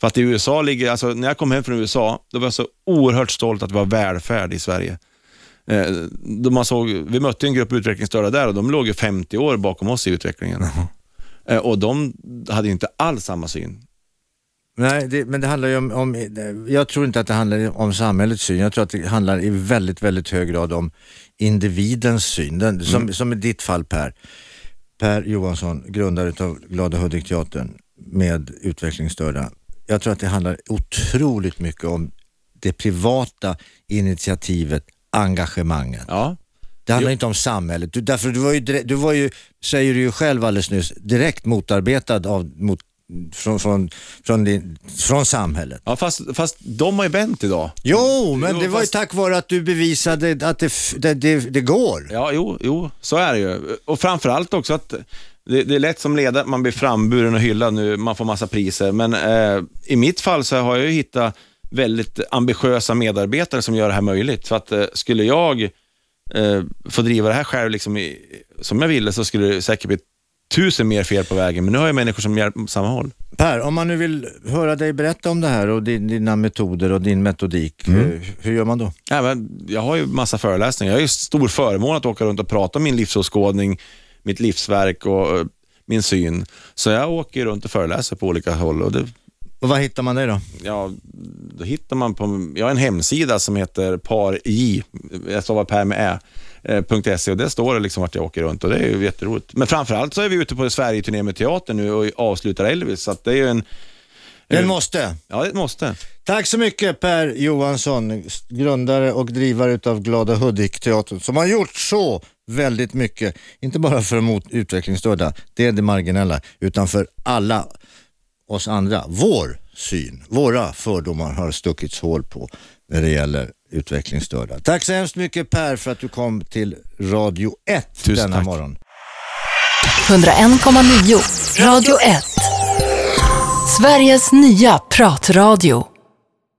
För att i USA ligger, alltså när jag kom hem från USA, då var jag så oerhört stolt att det var välfärd i Sverige. Eh, då man såg, vi mötte en grupp utvecklingsstörda där och de låg ju 50 år bakom oss i utvecklingen. Eh, och de hade ju inte alls samma syn.
Nej, det, men det handlar ju om, om, eh, jag tror inte att det handlar om samhällets syn. Jag tror att det handlar i väldigt, väldigt hög grad om individens syn. Den, som, som i ditt fall Per, Per Johansson, grundare av Glada Hudik-teatern med utvecklingsstörda. Jag tror att det handlar otroligt mycket om det privata initiativet, engagemanget.
Ja.
Det handlar inte om samhället. Du, därför du var ju, dire- du var ju, säger du ju själv alldeles nyss, direkt motarbetad av, mot, från, från, från, din, från samhället.
Ja, fast, fast de har ju vänt idag.
Jo, men
Jo,
det var ju
fast-
tack vare att du bevisade att det, f- det, det, det går.
Ja, jo, jo, så är det ju. Och framförallt också att det, det är lätt som ledare att man blir framburen och hyllad nu, man får massa priser. Men eh, i mitt fall så har jag ju hittat väldigt ambitiösa medarbetare som gör det här möjligt. För att eh, skulle jag eh, få driva det här själv liksom i, som jag ville så skulle det säkert bli tusen mer fel på vägen. Men nu har jag människor som hjälper på samma håll.
Per, om man nu vill höra dig berätta om det här och din, dina metoder och din metodik,
Mm.
eh, hur, hur gör man då?
Ja, men jag har ju massa föreläsningar. Jag har ju stor förmån att åka runt och prata om min livsåskådning, mitt livsverk och eh, min syn. Så jag åker ju runt och föreläser på olika håll. Och det,
Och var hittar man dig då?
ja, då hittar man på, jag har en hemsida som heter parj, jag stavar per med ä, eh, .se och där står det liksom vart jag åker runt och det är ju jätteroligt. Men framförallt så är vi ute på Sverige-turné med teatern nu och avslutar Elvis, så att det är ju en, Eh.
Den måste.
ja det är ett måste.
Tack så mycket Per Johansson, grundare och drivare utav Glada Hudik-teatern som har gjort så väldigt mycket. Inte bara för mot utvecklingsstörda, det är det marginella, utan för alla oss andra. Vår syn, våra fördomar har stuckits hål på när det gäller utvecklingsstörda. Tack så hemskt mycket Per för att du kom till Radio 1
Tusen
denna
tack.
morgon.
101,9. Radio 1. Sveriges nya pratradio.